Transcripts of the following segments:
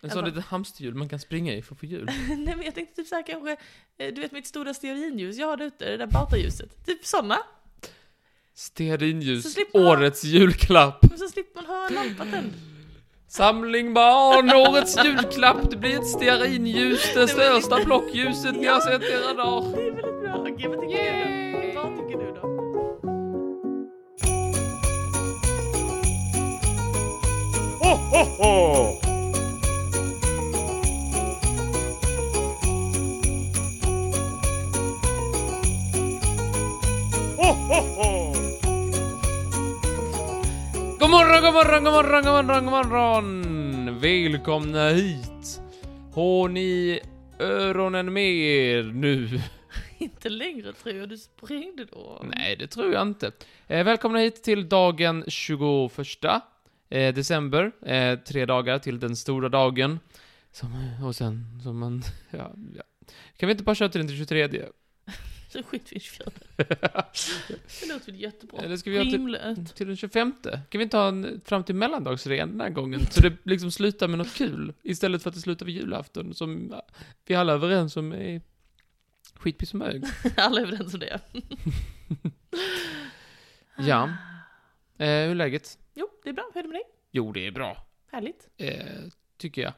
En Jag sån bara- litet hamsterhjul man kan springa i för att få hjul. Nej men jag tänkte typ såhär kanske, eh, du vet mitt stora stearinljus jag har där ute, det där batarljuset. Typ sådana. Så Stearinljus, slipper man- årets julklapp. Men så slipper man ha en lampa tänd. Samling barn, årets julklapp. Det blir ett stearinljus, det största blockljuset ni har sett i era dagar. Det är väldigt bra. Okej, vad tycker du då? Vad tycker du då? God morgon, god morgon, god morgon, god morgon, god morgon! Välkomna hit! Har ni öronen med er nu? Inte längre tror jag, du sprängde då. Nej, det tror jag inte. Eh, välkomna hit till dagen 21 eh, december. Eh, tre dagar till den stora dagen. Som, och sen, som man... Ja, ja. Kan vi inte bara köra till den till 23? Så skit vi i fjärde. Det låter väl jättebra. Eller ska vi göra typ- Rimligt. Till den 25? Kan vi inte ha en fram till mellandagsrean den här gången? Så det liksom slutar med något kul istället för att det slutar vid julafton som ja, vi alla är överens om är skitpissmög. Alla är överens om det. Ja. Eh, hur är läget? Jo, det är bra. Hur är det med dig? Jo, det är bra. Härligt. eh, tycker jag.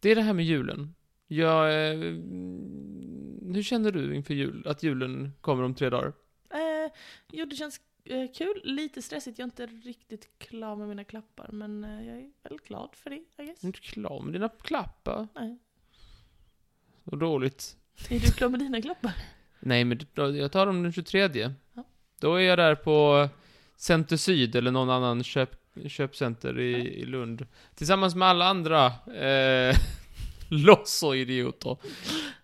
Det är det här med julen. Jag, eh, mm, hur känner du inför jul? Att julen kommer om tre dagar? Eh, jo, det känns eh, kul. Lite stressigt. Jag är inte riktigt klar med mina klappar, men eh, jag är väl glad för det, I guess. Du är inte klar med dina klappar. Nej. Så dåligt. Är du klar med dina klappar? Nej, men då- jag tar dem den 23. Ja. Då är jag där på Center Syd eller någon annan köp, köpcenter i, i Lund. Tillsammans med alla andra eh, loss och idioter.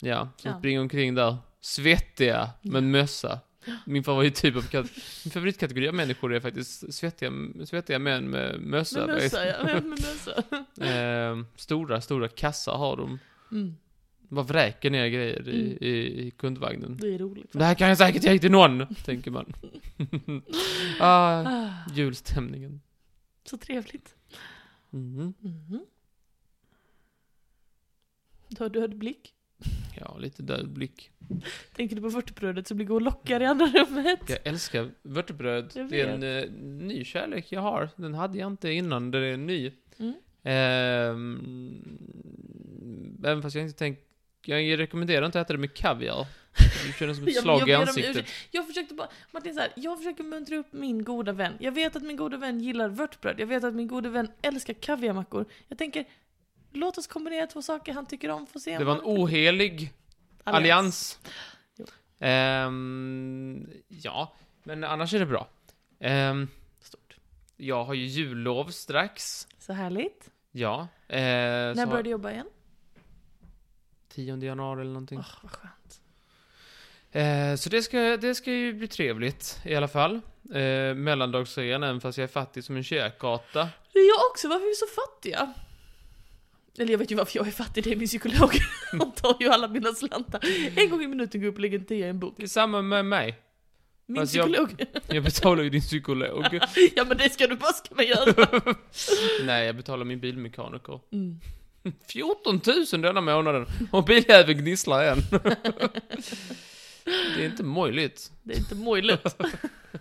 Ja, som Ja. springer omkring där. Svettiga, men mössa. Min favorittyp av kat- min favoritkategori av människor är faktiskt svettiga, svettiga män med mössa. Med mössa, ja. Med mössa. Eh, stora, stora kassar har de. Mm, Bara vräker ner grejer i, Mm. i, i kundvagnen. det är roligt. Det här kan jag säkert ge till någon, tänker man. ah, Ah, julstämningen. så trevligt. Mhm. Mhm. Du har död blick. Ja, lite död blick. Tänker du på vörtbrödet så blir gå och lockar i andra rummet. Jag älskar vörtbröd. Jag Det är en eh, ny kärlek jag har. Den hade jag inte innan, den är ny. Mm. Ehm, även fast jag inte tänker... Jag rekommenderar inte att äta det med kaviar. Det känns som ett Jag- slag jag i ber om ansiktet. Jag försökte bara, Martin så här, jag försöker muntra upp min goda vän. Jag vet att min goda vän gillar vörtbröd, jag vet att min goda vän älskar kaviarmackor. Jag tänker, låt oss kombinera två saker han tycker om, får se om Det var en han kan- ohelig allians. Jo. Ehm, ja, men annars är det bra. Ehm, Stort. Jag har ju jullov strax. Så härligt. Ja. Eh, När När började du jobba igen? 10 januari eller någonting. Åh, vad skönt. Eh, så det ska, det ska ju bli trevligt i alla fall. Eh, mellandagsrean, även fast jag är fattig som en kökata. Det är jag också, varför är vi så fattiga? Eller jag vet ju varför jag är fattig, det är min psykolog. Hon tar ju alla mina slantar. En gång i minuten går jag upp och lägger en tia i en bok. Det är samma med mig. Min Fast jag- psykolog. Jag betalar ju din psykolog. ja men det ska du bara ska man göra. Nej, jag betalar min bilmekaniker. Mm. 14 000 denna månaden och biljäveln gnisslar än. det är inte möjligt. Det är inte möjligt.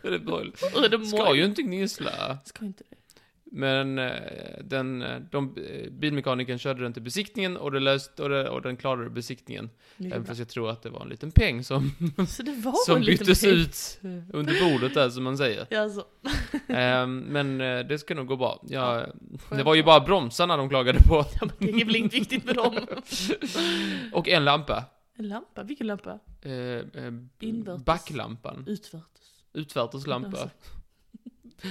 Det är möjligt. Och det är Ska möjligt. ju inte gnissla. Ska inte det. Men eh, den, eh, de, eh, bilmekanikern körde den till besiktningen och, det löst, och, det, och den klarade besiktningen. Mycket Även bra. fast jag tror att det var en liten peng som, Så det var som en liten byttes peng. ut under bordet där som man säger. Ja, alltså, Eh, men eh, det ska nog gå bra. Jag, det skönt. var ju bara bromsarna de klagade på. ja, men det är väl inte viktigt med dem. Och en lampa. En lampa? Vilken lampa? Eh, eh, Invärtes. backlampan. Utvärtes. Utfärteslampa. Alltså.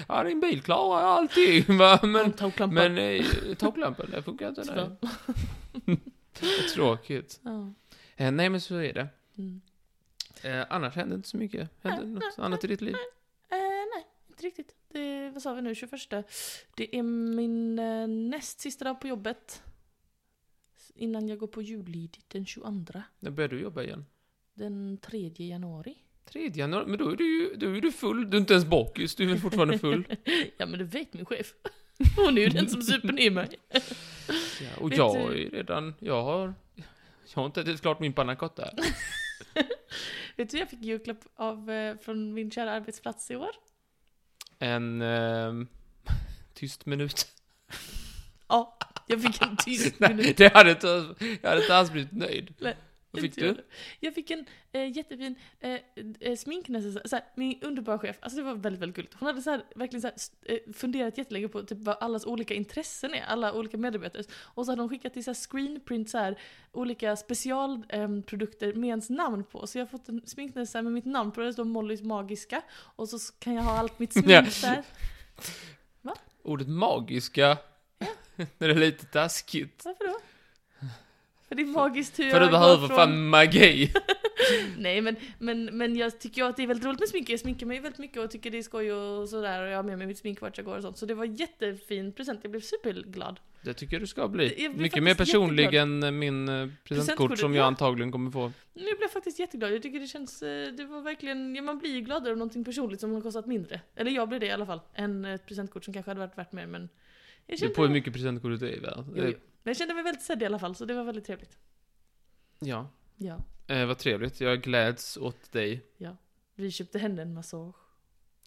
Ja, din bil klarar allting va? Men, Men, taklampa. men eh, taklampan, det funkar inte. Tyvärr. nej. Tråkigt. Ja. Eh, nej, men så är det. Mm. Eh, annars händer inte så mycket. Händer Nej, något nej, annat i ditt liv? Eh, nej, inte riktigt. Det, vad sa vi nu? 21. Det är min eh, näst sista dag på jobbet. Innan jag går på julledigt den 22. När börjar du jobba igen? Den 3 januari. 3 januari? Men då är du ju då är du full. Du är inte ens bakis. Du är väl fortfarande full? Ja men det vet min chef. Hon är ju den som super ner mig. Ja, och Vet jag du- är ju redan, jag har, jag har inte ätit klart min pannacotta. Vet du jag fick julklapp av, eh, från min kära arbetsplats i år? En ehm, tyst minut. Ja, jag fick en tyst Nej, minut. det hade inte, jag hade inte alls blivit nöjd. Nej, Vad fick Inte jag du? heller. Jag fick en eh, jättefin eh, eh, sminknäsa, såhär, min underbara chef, alltså det var väldigt, väldigt gulligt. Hon hade såhär, verkligen såhär, st- eh, funderat jättelänge på typ, vad allas olika intressen är, alla olika medarbetares. Och så hade hon skickat till såhär, screenprint såhär, olika specialprodukter med ens namn på. Så jag har fått en sminknäsa med mitt namn på, där det står Mollys magiska. Och så s- kan jag ha allt mitt smink Ja. där. Ordet magiska, det är lite taskigt. Varför då? För det är magiskt hur För du jag går behöver från- fan magi. Nej men, men, men jag tycker ju att det är väldigt roligt med smink. Jag sminkar mig väldigt mycket och tycker det är skoj och sådär och jag har med mig mitt smink vart jag går och sånt. Så det var en jättefin present, jag blev superglad. Det tycker du ska Jag bli. blir Mycket mer faktiskt personlig jätteglad. än min eh, presentkort Presentkortet, som ja. jag antagligen kommer få. Men Jag blev faktiskt jätteglad, jag tycker det känns, eh, det var verkligen, ja, man blir ju gladare av någonting personligt som har kostat mindre. Eller jag blir det i alla fall, än ett presentkort som kanske hade varit värt mer men jag Det kände, på hur mycket presentkortet är värt. jo, Eh, jo. Men jag kände mig väldigt sedd i alla fall så det var väldigt trevligt. Ja. Ja, Eh, vad trevligt, jag gläds åt dig. Typ, vi köpte henne en massage.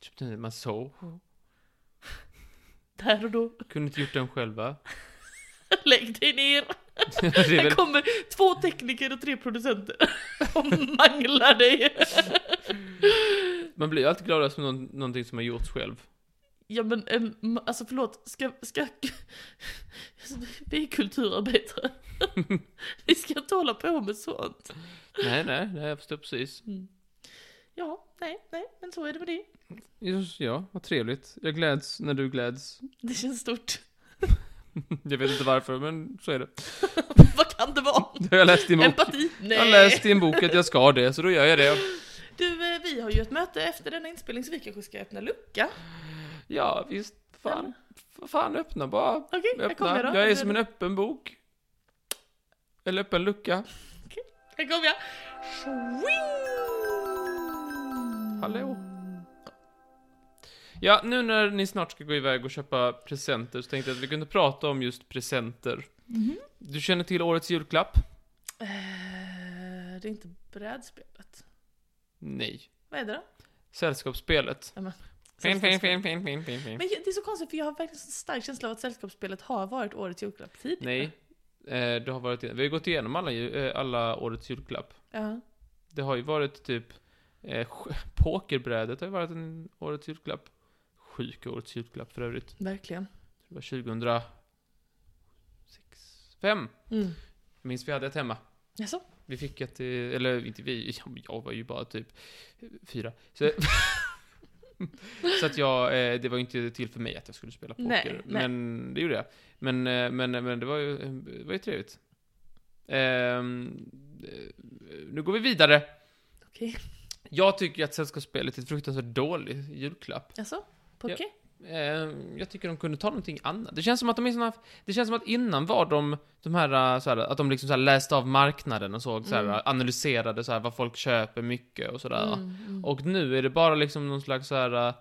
Köpte en massage. Där och då, Kunde inte gjort den själva. lägg dig ner! det är Här väl kommer två tekniker och tre producenter och manglar dig. Man blir ju alltid gladast med någon, någonting som har gjorts själv. Ja men, en, ma- alltså förlåt, ska, ska, vi är kulturarbetare. Vi ska inte hålla på med sånt. Mm. Nej, nej, nej, jag förstår precis. Ja, nej, nej, men så är det med det. Just, ja, vad trevligt. Jag gläds när du gläds. Det känns stort. Jag vet inte varför, men så är det. Vad kan det vara? Det har jag läst i en bok. Empati? Nej. Jag har läst i en bok att jag ska det, så då gör jag det. Du, eh, vi har ju ett möte efter denna inspelning så vi kanske ska öppna lucka. Ja, visst. Fan, f- fan öppna bara. Okej, jag Öppna. kommer då. Jag är som en öppen bok. Eller öppen lucka. Här kommer jag. Swing! Hallå. Ja, nu när ni snart ska gå iväg och köpa presenter så tänkte jag att vi kunde prata om just presenter. Mhm. Du känner till årets julklapp? Eh, Det är inte brädspelet. Nej. Vad är det då? Sällskapsspelet. Ja, men- Fin, fin, fin, fin, fin, fin, fin. Men jag- det är så konstigt för jag har verkligen så stark känsla av att sällskapsspelet har varit årets julklapp tidigare. Nej. Eh, det har varit, vi har ju gått igenom alla, ju- eh, alla årets julklapp. Ja. Det har ju varit typ, eh, sj- pokerbrädet har ju varit en årets julklapp. Sjuk årets julklapp för övrigt. Verkligen. Det var 2006, 5. Mm. Jag minns vi hade ett hemma. Jaså? Vi fick ett, eh, eller inte vi, jag var ju bara typ fyra. Så, så att jag, eh, det var ju inte till för mig att jag skulle spela poker. Nej, nej. Men det gjorde jag. Men, eh, men, men det var ju, det var ju trevligt. Ehm, eh, nu går vi vidare. Okej. Jag tycker att Sällskapsspelet är ett fruktansvärt dålig julklapp. Jaså? Poké? Ehm, jag tycker de kunde ta någonting annat. Det känns som att de är såna, det känns som att innan var de, de här, eh, så här att de liksom så här läste av marknaden och såg så här, eh, Mm. analyserade så här vad folk köper mycket och sådär. va. Mm, mm. Och nu är det bara liksom någon slags så här eh,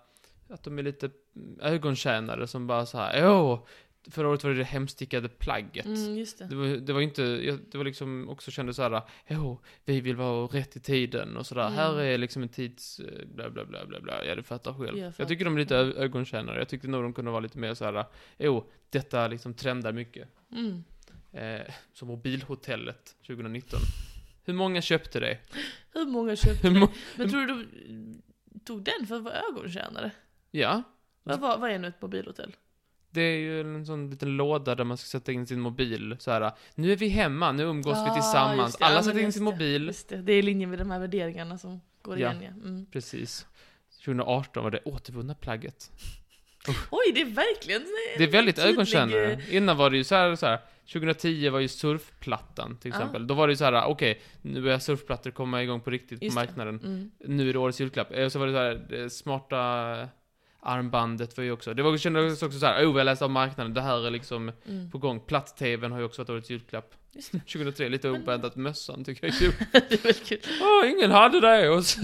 att de är lite mm, ögontjänare som bara så här, åh, förra året var det det hemstickade plagget. Mm, just det. Det var, det var inte, jag- det var liksom också kände så här, åh, vi vill vara rätt i tiden och sådär. Mm. Här är liksom en tids, eh, bla bla bla bla bla, ja du fattar själv. Jag Jag, fattar. tycker de är lite ö- ögontjänare, jag tyckte nog de kunde vara lite mer så här, åh, detta liksom trendar mycket. Mm. Eh, som mobilhotellet 2019. Hur många köpte det? Hur många köpte Hur må- Men tror du de tog den för att vara ögontjänare? ja, Vad, vad, vad är nu ett mobilhotell? det är ju en sån liten låda där man ska sätta in sin mobil så här. nu är vi hemma, nu umgås vi Ah, tillsammans. just det. Ja, Alla men sätter in just sin det. mobil. Just det, det är i linje med de här värderingarna som går Ja. igen ja. Mm. Precis. 2018 var det återvunna plagget. Oj, det är verkligen... en Det är väldigt tydlig, ögontjänare. eh, Innan var det ju så här, så här 2010 var ju surfplattan till Ja. exempel. Då var det ju så här, okej, nu börjar surfplattor komma igång på riktigt Just på det. marknaden. Mm. Nu är det årets julklapp. Eh, Och så var det så här, det smarta armbandet var ju också, det var kändes också så här, oh, vi har läst av marknaden, det här är liksom Mm. på gång. Platt-tvn har ju också varit årets julklapp. Just 2003, lite Men- oväntat, mössan tycker jag är kul. det är väldigt kul. Åh, ingen hade det! Och så,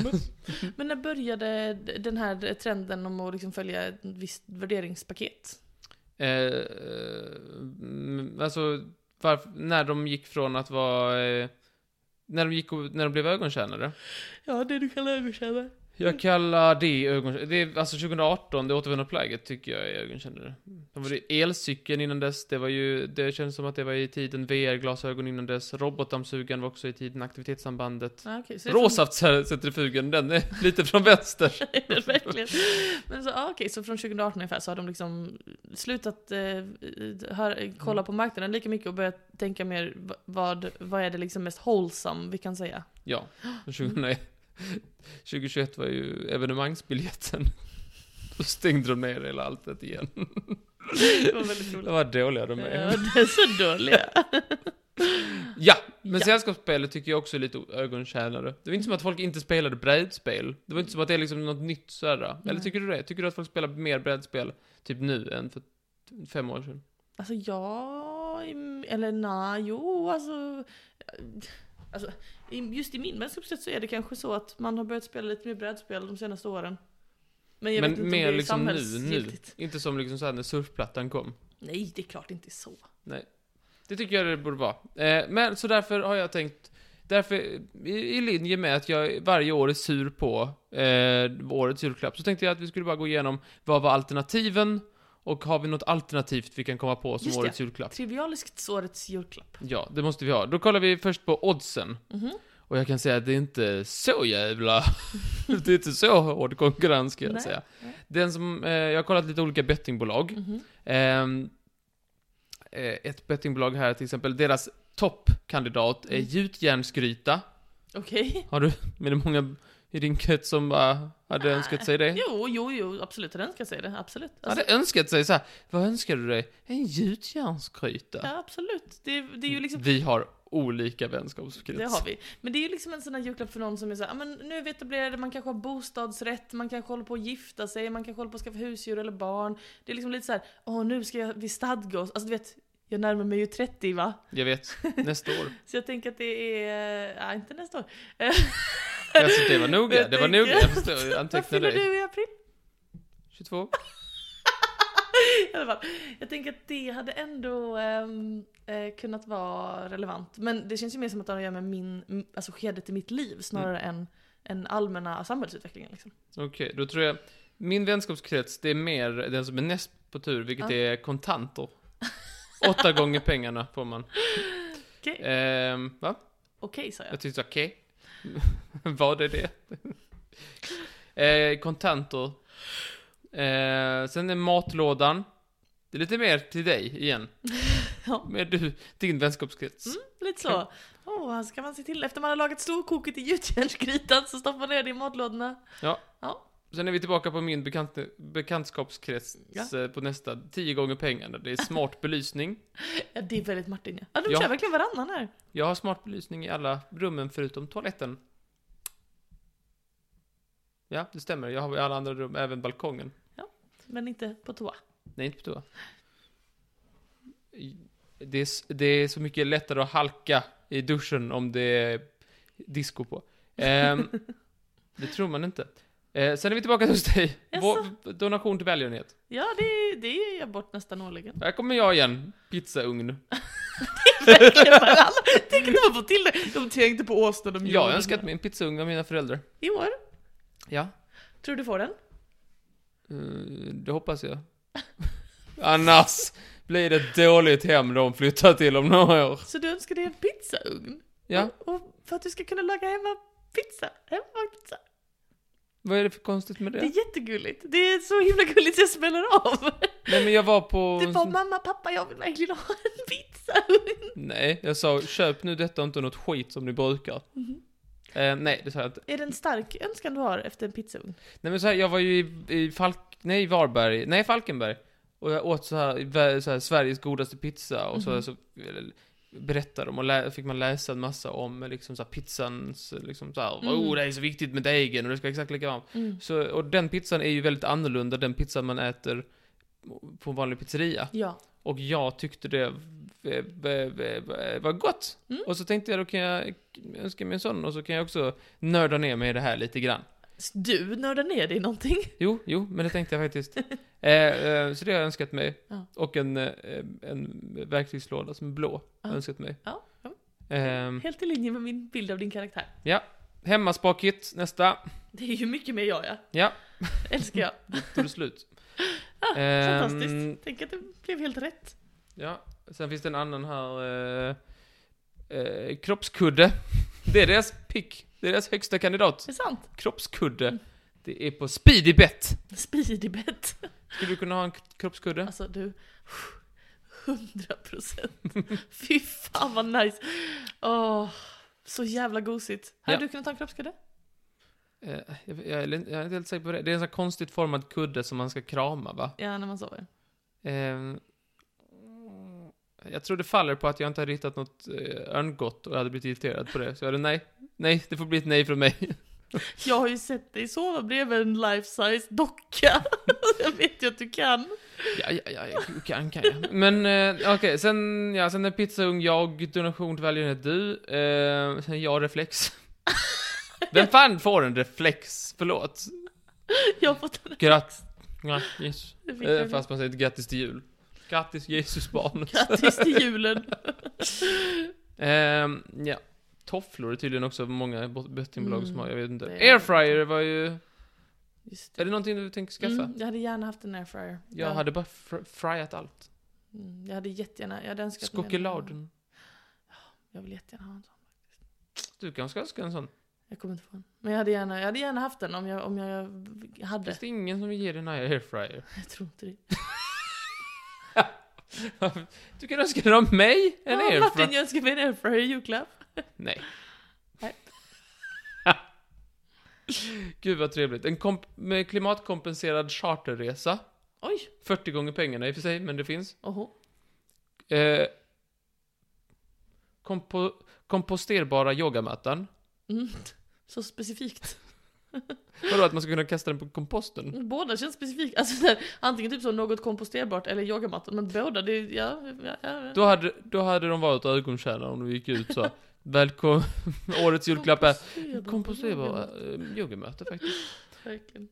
Men när började den här trenden om att liksom följa ett visst värderingspaket? Eh, mm, alltså, varf- när de gick från att vara... Eh, när, de gick, och- när de blev ögontjänare. Ja, det du kallar ögontjänare. Jag kallar det ögontjänare. Det är alltså 2018, det återvända plagget, tycker jag är ögontjänare. De var det elcykeln innan dess, det var ju... Det känns som att det var i tiden VR-glasögon innan dess. Robotdammsugaren var också i tiden, aktivitetssambandet. Ah, okay, så det är Råsaftcentrifugen, den är lite från vänster. från- är det verkligen. Men så, ah, okej, så från 2018 ungefär så har de liksom slutat eh, hör, kolla på marknaden lika mycket och börjat tänka mer v- vad, vad är det liksom mest wholesome vi kan säga. Ja, 2001. 2021 var ju evenemangsbiljetten. Då stängde de ner hela alltet igen. Det var väldigt roligt. Det var dåliga de Ja, är. det är så dåliga. Ja, men Ja. sällskapsspelet tycker jag också är lite ögontjänare. Det var inte som att folk inte spelade brädspel. Det var inte som att det är liksom något nytt sådär. Eller Nej. tycker du det? Tycker du att folk spelar mer brädspel typ nu än för fem år sedan? Alltså ja, im- eller nej, jo, alltså, alltså. i- Just i min vänskapskrets så är det kanske så att man har börjat spela lite mer brädspel de senaste åren. Men jag vet men inte mer om det är liksom nu, nu. samhällsgiltigt. Inte som liksom såhär när surfplattan kom. Nej, det är klart inte så. Det tycker jag det borde vara. Eh, men så därför har jag tänkt, därför i, i linje med att jag varje år är sur på eh, årets julklapp, så tänkte jag att vi skulle bara gå igenom vad var alternativen och har vi något alternativt vi kan komma på som Just det. årets julklapp? Trivialiskt årets julklapp. Ja, det måste vi ha. Då kollar vi först på oddsen. Mhm. Och jag kan säga att det är inte så jävla... det är inte så hård konkurrens kan jag Nej, säga. nej. Den som, eh, jag har kollat lite olika bettingbolag. Mhm. Ehm, eh, ett bettingbolag här till exempel, deras toppkandidat är Mm. gjutjärnsgryta. Okej. Har du, men det är många i din krets som bara hade Nej. önskat sig det? Jo, jo, jo, absolut. Den ska jag säga det. Absolut. Alltså, Hade önskat sig så här, vad önskar du dig? En gjutjärnsgryta. Alltså, ja, absolut. Det, det är Mm. ju liksom Vi har olika vänskapskrets. Det har vi. Men det är ju liksom en sån här julklapp för någon som är såhär, ah, men nu är vi etablerade, man kanske har bostadsrätt, man kanske håller på att gifta sig, man kanske håller på att skaffa husdjur eller barn. Det är liksom lite så här: åh nu ska jag, vi stadga oss. Alltså du vet, jag närmar mig ju 30 va? Jag vet, nästa år. Så jag tänker att det är, eh, ja inte nästa år. Alltså, det var noga, Jag det var tänker- noga. Jag förstår, jag Vad antecknade fyller dig. du i april? 22. I alla fall. Jag tänker att det hade ändå ehm, eh, kunnat vara relevant. Men det känns ju mer som att det har att göra med min, m- alltså skedet i mitt liv snarare än, än allmänna samhällsutvecklingen liksom. Okej, då tror jag... Min vänskapskrets, det är mer den som är näst på tur, vilket Ja. är kontanter. Åtta gånger pengarna får man. Okej, Ehm, va? okej sa jag. Jag tyckte okej. Vad är det? eh, kontanter. Eh, sen är matlådan. Det är lite mer till dig igen. Ja. Mer du, din vänskapskrets. Mm, lite så. Åh, här ska man se till. Efter man har lagat storkoket i gjutjärnsgrytan så stoppar man ner det i matlådorna. Sen är vi tillbaka på min bekant, bekantskapskrets Ja. eh, på nästa. Tio gånger pengarna. Det är smart belysning. Ja, det är väldigt Martin ja. ja de Ja. kör verkligen varannan här. Jag har smart belysning i alla rummen förutom toaletten. Ja, det stämmer. Jag har i alla andra rum, även balkongen. Men inte på toa. Nej, inte på toa. Det är, s- det är så mycket lättare att halka i duschen om det är disco på. Ehm, det tror man inte. Eh, sen är vi tillbaka hos dig. Jaså? Vår donation till välgörenhet. Ja, det, det ger jag bort nästan årligen. Här kommer jag igen. Pizzaugn. Verkligen varannan. Tänk att de har fått till det. De tänkte på Åsnan och Jag har önskat mig en pizzaugn av mina föräldrar. I år. Ja. Tror du får den? Eh, Det hoppas jag. Annars blir det ett dåligt hem de flyttar till om några år. Så du önskar dig en pizzaugn? Ja, Och, och för att du ska kunna laga hemma pizza. Hemma pizza. vad är det för konstigt med Det det? är jättegulligt. Det är så himla gulligt så jag smäller av. Nej men jag var på... Det var mamma, pappa, jag vill verkligen ha en pizzaugn. Nej, jag sa köp nu detta och inte något skit som ni brukar. Mhm. Eh, nej, det sa jag inte. Är det en stark önskan du har efter en pizzaugn? Nej men så här, jag var ju i, i Falk... Nej, i Varberg. Nej, Falkenberg. Och jag åt så här, vä- så här Sveriges godaste pizza och så, Mhm. så eller, berättade de och lä- fick man läsa en massa om liksom så här, pizzans liksom så här, Mhm. oh det är så viktigt med degen och det ska vara exakt likadant. Så, och den pizzan är ju väldigt annorlunda den pizza man äter på en vanlig pizzeria. Ja. Och jag tyckte det v- v- v- v- var gott. Mm. Och så tänkte jag då kan jag önska mig en sån och så kan jag också nörda ner mig i det här lite grann. Du nördar ner dig i någonting. Jo, jo, men det tänkte jag faktiskt. eh, eh, så det har jag önskat mig. Ja. Och en, eh, en verktygslåda som är blå har Ja. jag önskat mig. Ja, ja. Ehm, Helt i linje med min bild av din karaktär. Hemmaspa-kit, nästa. Det är ju mycket mer jag, ja. Ja. Älskar jag. Tog det slut. Ah, Ehm, Fantastiskt. Tänk att det blev helt rätt. Ja, sen finns det en annan här. Eh, eh, kroppskudde. Det är deras pick. Det är deras högsta kandidat. Det är sant. Kroppskudde. Mm. Det är på speedybet. Speedybet. Skulle du kunna ha en k- kroppskudde? Alltså du. 100 procent. Fy fan vad nice. Åh, så jävla gosigt. Hade Ja. du kunnat ta en kroppskudde? Eh, jag, jag, är li- jag är inte helt säker på det. Det är en sån här konstigt formad kudde som man ska krama, va? Ja, när man sover. Ehm, jag tror det faller på att jag inte har hittat något eh, örngott och jag hade blivit irriterad på det. Så jag hade nej, nej, det får bli ett nej från mig. Jag har ju sett dig sova bredvid en life-size docka. jag vet ju att du kan. ja, ja, ja, jag kan, kan jag. Men eh, okej, sen, ja, sen är pizzaung jag, donation till välgörenhet du, eh, sen jag reflex. Vem fan får en reflex? Förlåt. Jag har fått en Grattis. Ja, yes. Det fick Eh, jag fast man säger inte grattis till jul. Grattis Jesusbarnet. Grattis till julen. Ehm, ja. Tofflor är tydligen också många bot- bettingbolag som Mm. har, jag vet inte. Det- Airfryer var ju... Just det. Är det någonting du tänker skaffa? Mm, jag hade gärna haft en airfryer. Jag Ja. hade bara fr- fryat allt. Mm, jag hade jättegärna, jag hade önskat mig en- Skokeladen. Jag vill jättegärna ha en sån. Du kanske önskar en sån? Jag kommer inte få en. Men jag hade gärna, jag hade gärna haft den om jag, om jag hade. Finns det ingen som vill ge dig en airfryer? Jag tror inte det. du kan önska den av mig? En Ja, Martin, airfryer? jag önskar mig en airfryer i julklapp. Nej. Nej. Gud vad trevligt. En komp- med klimatkompenserad charterresa. Oj, 40 gånger pengarna i och för sig, men det finns. oho. Eh, kompo komposterbara yogamattan. Mm. Så specifikt. Vadå att man ska kunna kasta den på komposten? Båda känns specifikt. Alltså, så här, antingen typ så något komposterbart eller yogamattan. Men båda, det är... Ja, ja, ja. Då hade, då hade de varit ögonkärna om de gick ut så. Välkommen, årets julklapp är Komposterbart. komposterbara eh, yogamatta faktiskt. Verkligen.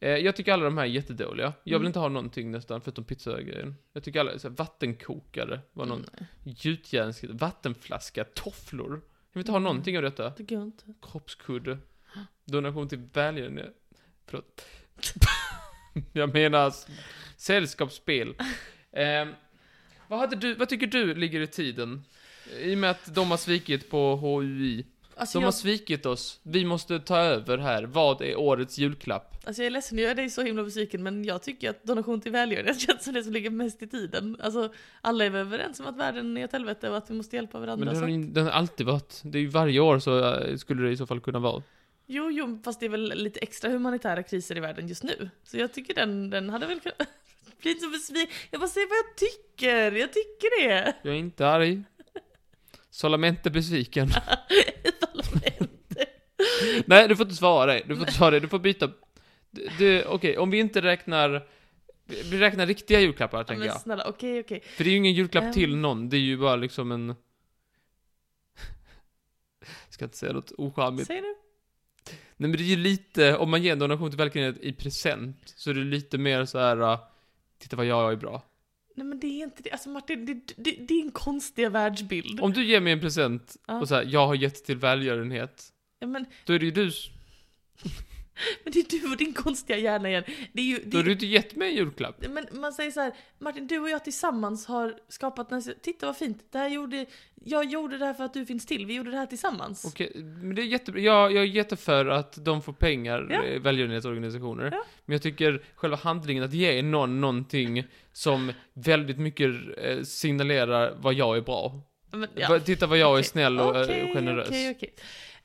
Eh, jag tycker alla de här är jättedåliga. Jag vill Mm. inte ha någonting nästan förutom pizzagrejen. Jag tycker alla, så här, vattenkokare var någon Nej, gjutjärnskris, vattenflaska, tofflor. Jag vill inte ha Mm. någonting av detta. det går inte. kroppskudde. Donation till välgörenhet. Förlåt. Jag menar s- sällskapsspel. Eh, vad, hade du, vad tycker du ligger i tiden? I och med att de har svikit på HUI. Alltså, De jag, har svikit oss. Vi måste ta över här. Vad är årets julklapp? alltså jag är ledsen, jag är dig så himla besviken men jag tycker att donation till välgörenhet känns som det som ligger mest i tiden. Alltså alla är väl överens om att världen är ett helvete och att vi måste hjälpa Men varandra. det har, så. ju- den har alltid varit. Det är ju varje år så eh, skulle det i så fall kunna vara. Jo, jo, fast det är väl lite extra humanitära kriser i världen just nu. Så jag tycker den, den hade väl kunnat... Bli inte så besviken. Jag bara säger vad jag tycker, jag tycker det. Jag är inte arg. Solamente besviken. Nej, du får inte svara dig. Du får inte svara dig. Du får byta. Du, du, Okej, om vi inte räknar... Vi räknar riktiga julklappar, Ja, tänker men jag. snälla, okej, okej. För det är ju ingen julklapp Ehm. till någon. Det är ju bara liksom en... Jag ska inte säga något ocharmigt. Säg nu. Nej, men det är ju lite... Om man ger en donation till välgörenhet i present, så är det lite mer så här... äh, Titta vad jag är bra. Nej men det är inte det, alltså Martin, det, det, det är en konstig världsbild. Om du ger mig en present Ja. och så här, jag har gett till välgörenhet, Ja, men, då är det ju du... s- men det är du och din konstiga hjärna igen. Det är ju, det Då är har du inte gett mig en julklapp. Men man säger så här, Martin du och jag tillsammans har skapat den här, titta vad fint, det här gjorde, jag gjorde det här för att du finns till, vi gjorde det här tillsammans. Okej, men det är jättebra. Jag, jag är jätteför att de får pengar, Ja. ja. välgörenhetsorganisationer. Ja. Men jag tycker själva handlingen att ge någon någonting som väldigt mycket eh, signalerar vad jag är bra. Men, ja. Va- Titta vad jag är Okej. snäll och eh, Okej, generös. okej, okej.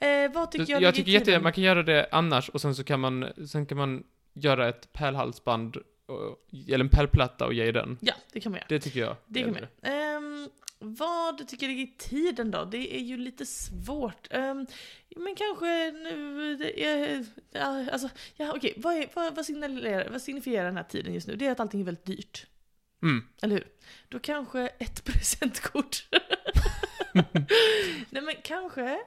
Eh, vad tycker jag jag, jag tycker ligger i jättegärna tiden? man kan göra det annars och sen så kan man, sen kan man göra ett pärlhalsband, och, eller en pärlplatta och ge den. Ja, det kan man göra. Det tycker jag. Det kan man är göra. Ehm, vad tycker jag ligger i tiden då? Det är ju lite svårt. Ehm, men kanske nu... Det är, ja, alltså, ja, okej. Vad, är, vad, vad, signalerar, vad signifierar den här tiden just nu? Det är att allting är väldigt dyrt. Mm. Eller hur? Då kanske ett presentkort. Nej men kanske.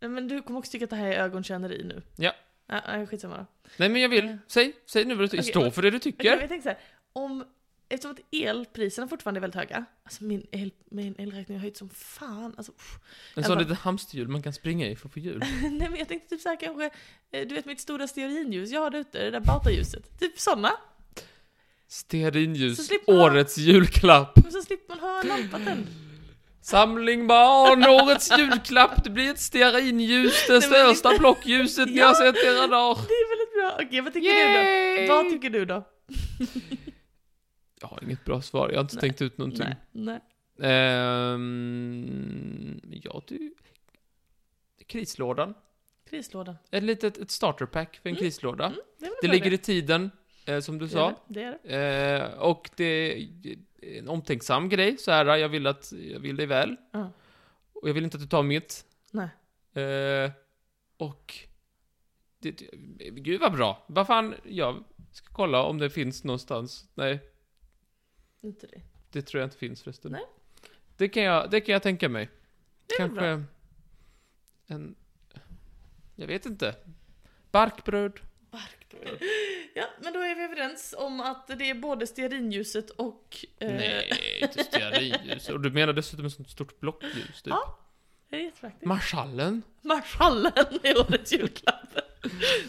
Nej men du kommer också tycka att det här är ögonkänneri nu. Ja. Ja, ja, skitsamma då. Nej men jag vill, Eh. säg, säg nu vad du tycker. Okej, Stå och- för det du Okej, men tycker. jag tänkte så här, om, eftersom att elpriserna fortfarande är väldigt höga, alltså min, el, min elräkning har höjt som fan. Alltså, uff. En jag sån bara- liten hamsterhjul man kan springa i för att få hjul. Nej men jag tänkte typ såhär kanske, eh, du vet mitt stora stearinljus jag har där ute, det där batarljuset. Typ sådana. Så Stearinljus, slipper man- årets julklapp. Och så slipper man ha lampan tänd. Samling barn, årets julklapp, det blir ett stearinljus, det Nej, men största blockljuset ni har Ja. sett i era dagar. Det är väldigt bra. Okej, vad tycker Yay! du då? Vad tycker du då? Jag har inget bra svar, jag har inte Nej. tänkt ut någonting. Nej, nej. Ehm, ja du... Krislådan. Krislådan. Ett litet ett starterpack för en Mm. krislåda. Mm, det är väl Det en ligger fördel. i tiden, eh, som du Det är sa. det, Det är det. Eh, och det är en omtänksam grej, så här, jag vill att, jag vill dig väl. Ja. Och jag vill inte att du tar mitt. Nej. Eh, och... Det, det, gud vad bra. Vad fan, jag ska kolla om det finns någonstans. Nej, Inte det. det tror jag inte finns förresten. Nej. Det kan jag, det kan jag tänka mig. Det är väl bra. Kanske en... Jag vet inte. Barkbröd. Barkbröd. Ja, men då är vi överens om att det är både stearinljuset och... eh, Nej, inte stearinljus. Och du menar dessutom ett sånt stort blockljus, typ. Ja. Det är jättepraktiskt. Marschallen. Marschallen är årets julklapp.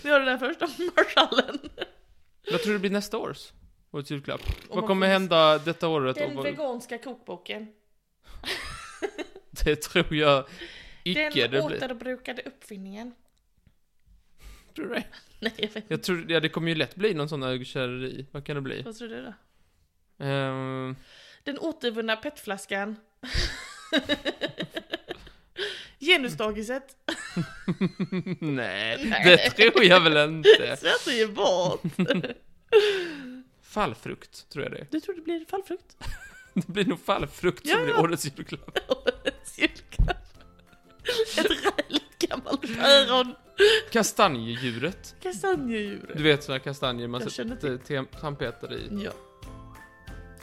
Vi har det där först om marschallen. Vad tror du blir nästa års? Årets julklapp. Om vad man kommer får- hända detta året? Den Och vad- veganska kokboken. Det tror jag icke Den det blir. återbrukade uppfinningen. Tror du det? Nej, jag vet inte. Jag tror, ja det kommer ju lätt bli någon sån ögonkärleri. Vad kan det bli? Vad tror du då? Ehm, Den återvunna petflaskan. Genusdagiset. nej, Nej. det tror jag väl inte. Svett är ju bort. Fallfrukt, tror jag det är. Du tror det blir fallfrukt? Det blir nog fallfrukt som Ja, blir ja. årets julklapp. Årets julklapp. Ett räligt gammalt päron. Kastanjedjuret. Du Kastanjedjuret. vet såna kastanjer man Jag känner sätter tem- tandpetare i. Ja.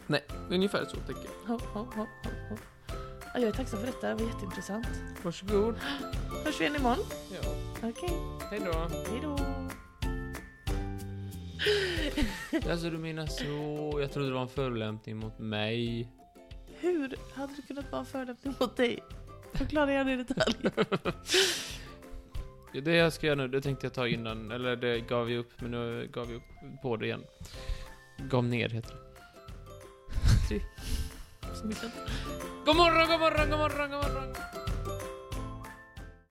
Nej, ungefär så tänker jag. Ho, ho, ho, ho, ho. Ja, Jag är tacksam för detta, det var jätteintressant. Varsågod. Hörs vi igen imorgon? Ja. Okej, Hej då. hejdå. Alltså du menar så? Jag trodde det var en förolämpning mot mig. Hur hade det kunnat vara en förolämpning mot dig? Förklara gärna i detalj. Ja, Det jag ska göra nu, det tänkte jag ta innan, eller det gav jag upp, men nu gav jag upp på det igen. Gav ner heter det. God morgon, god morgon, god morgon, god morgon!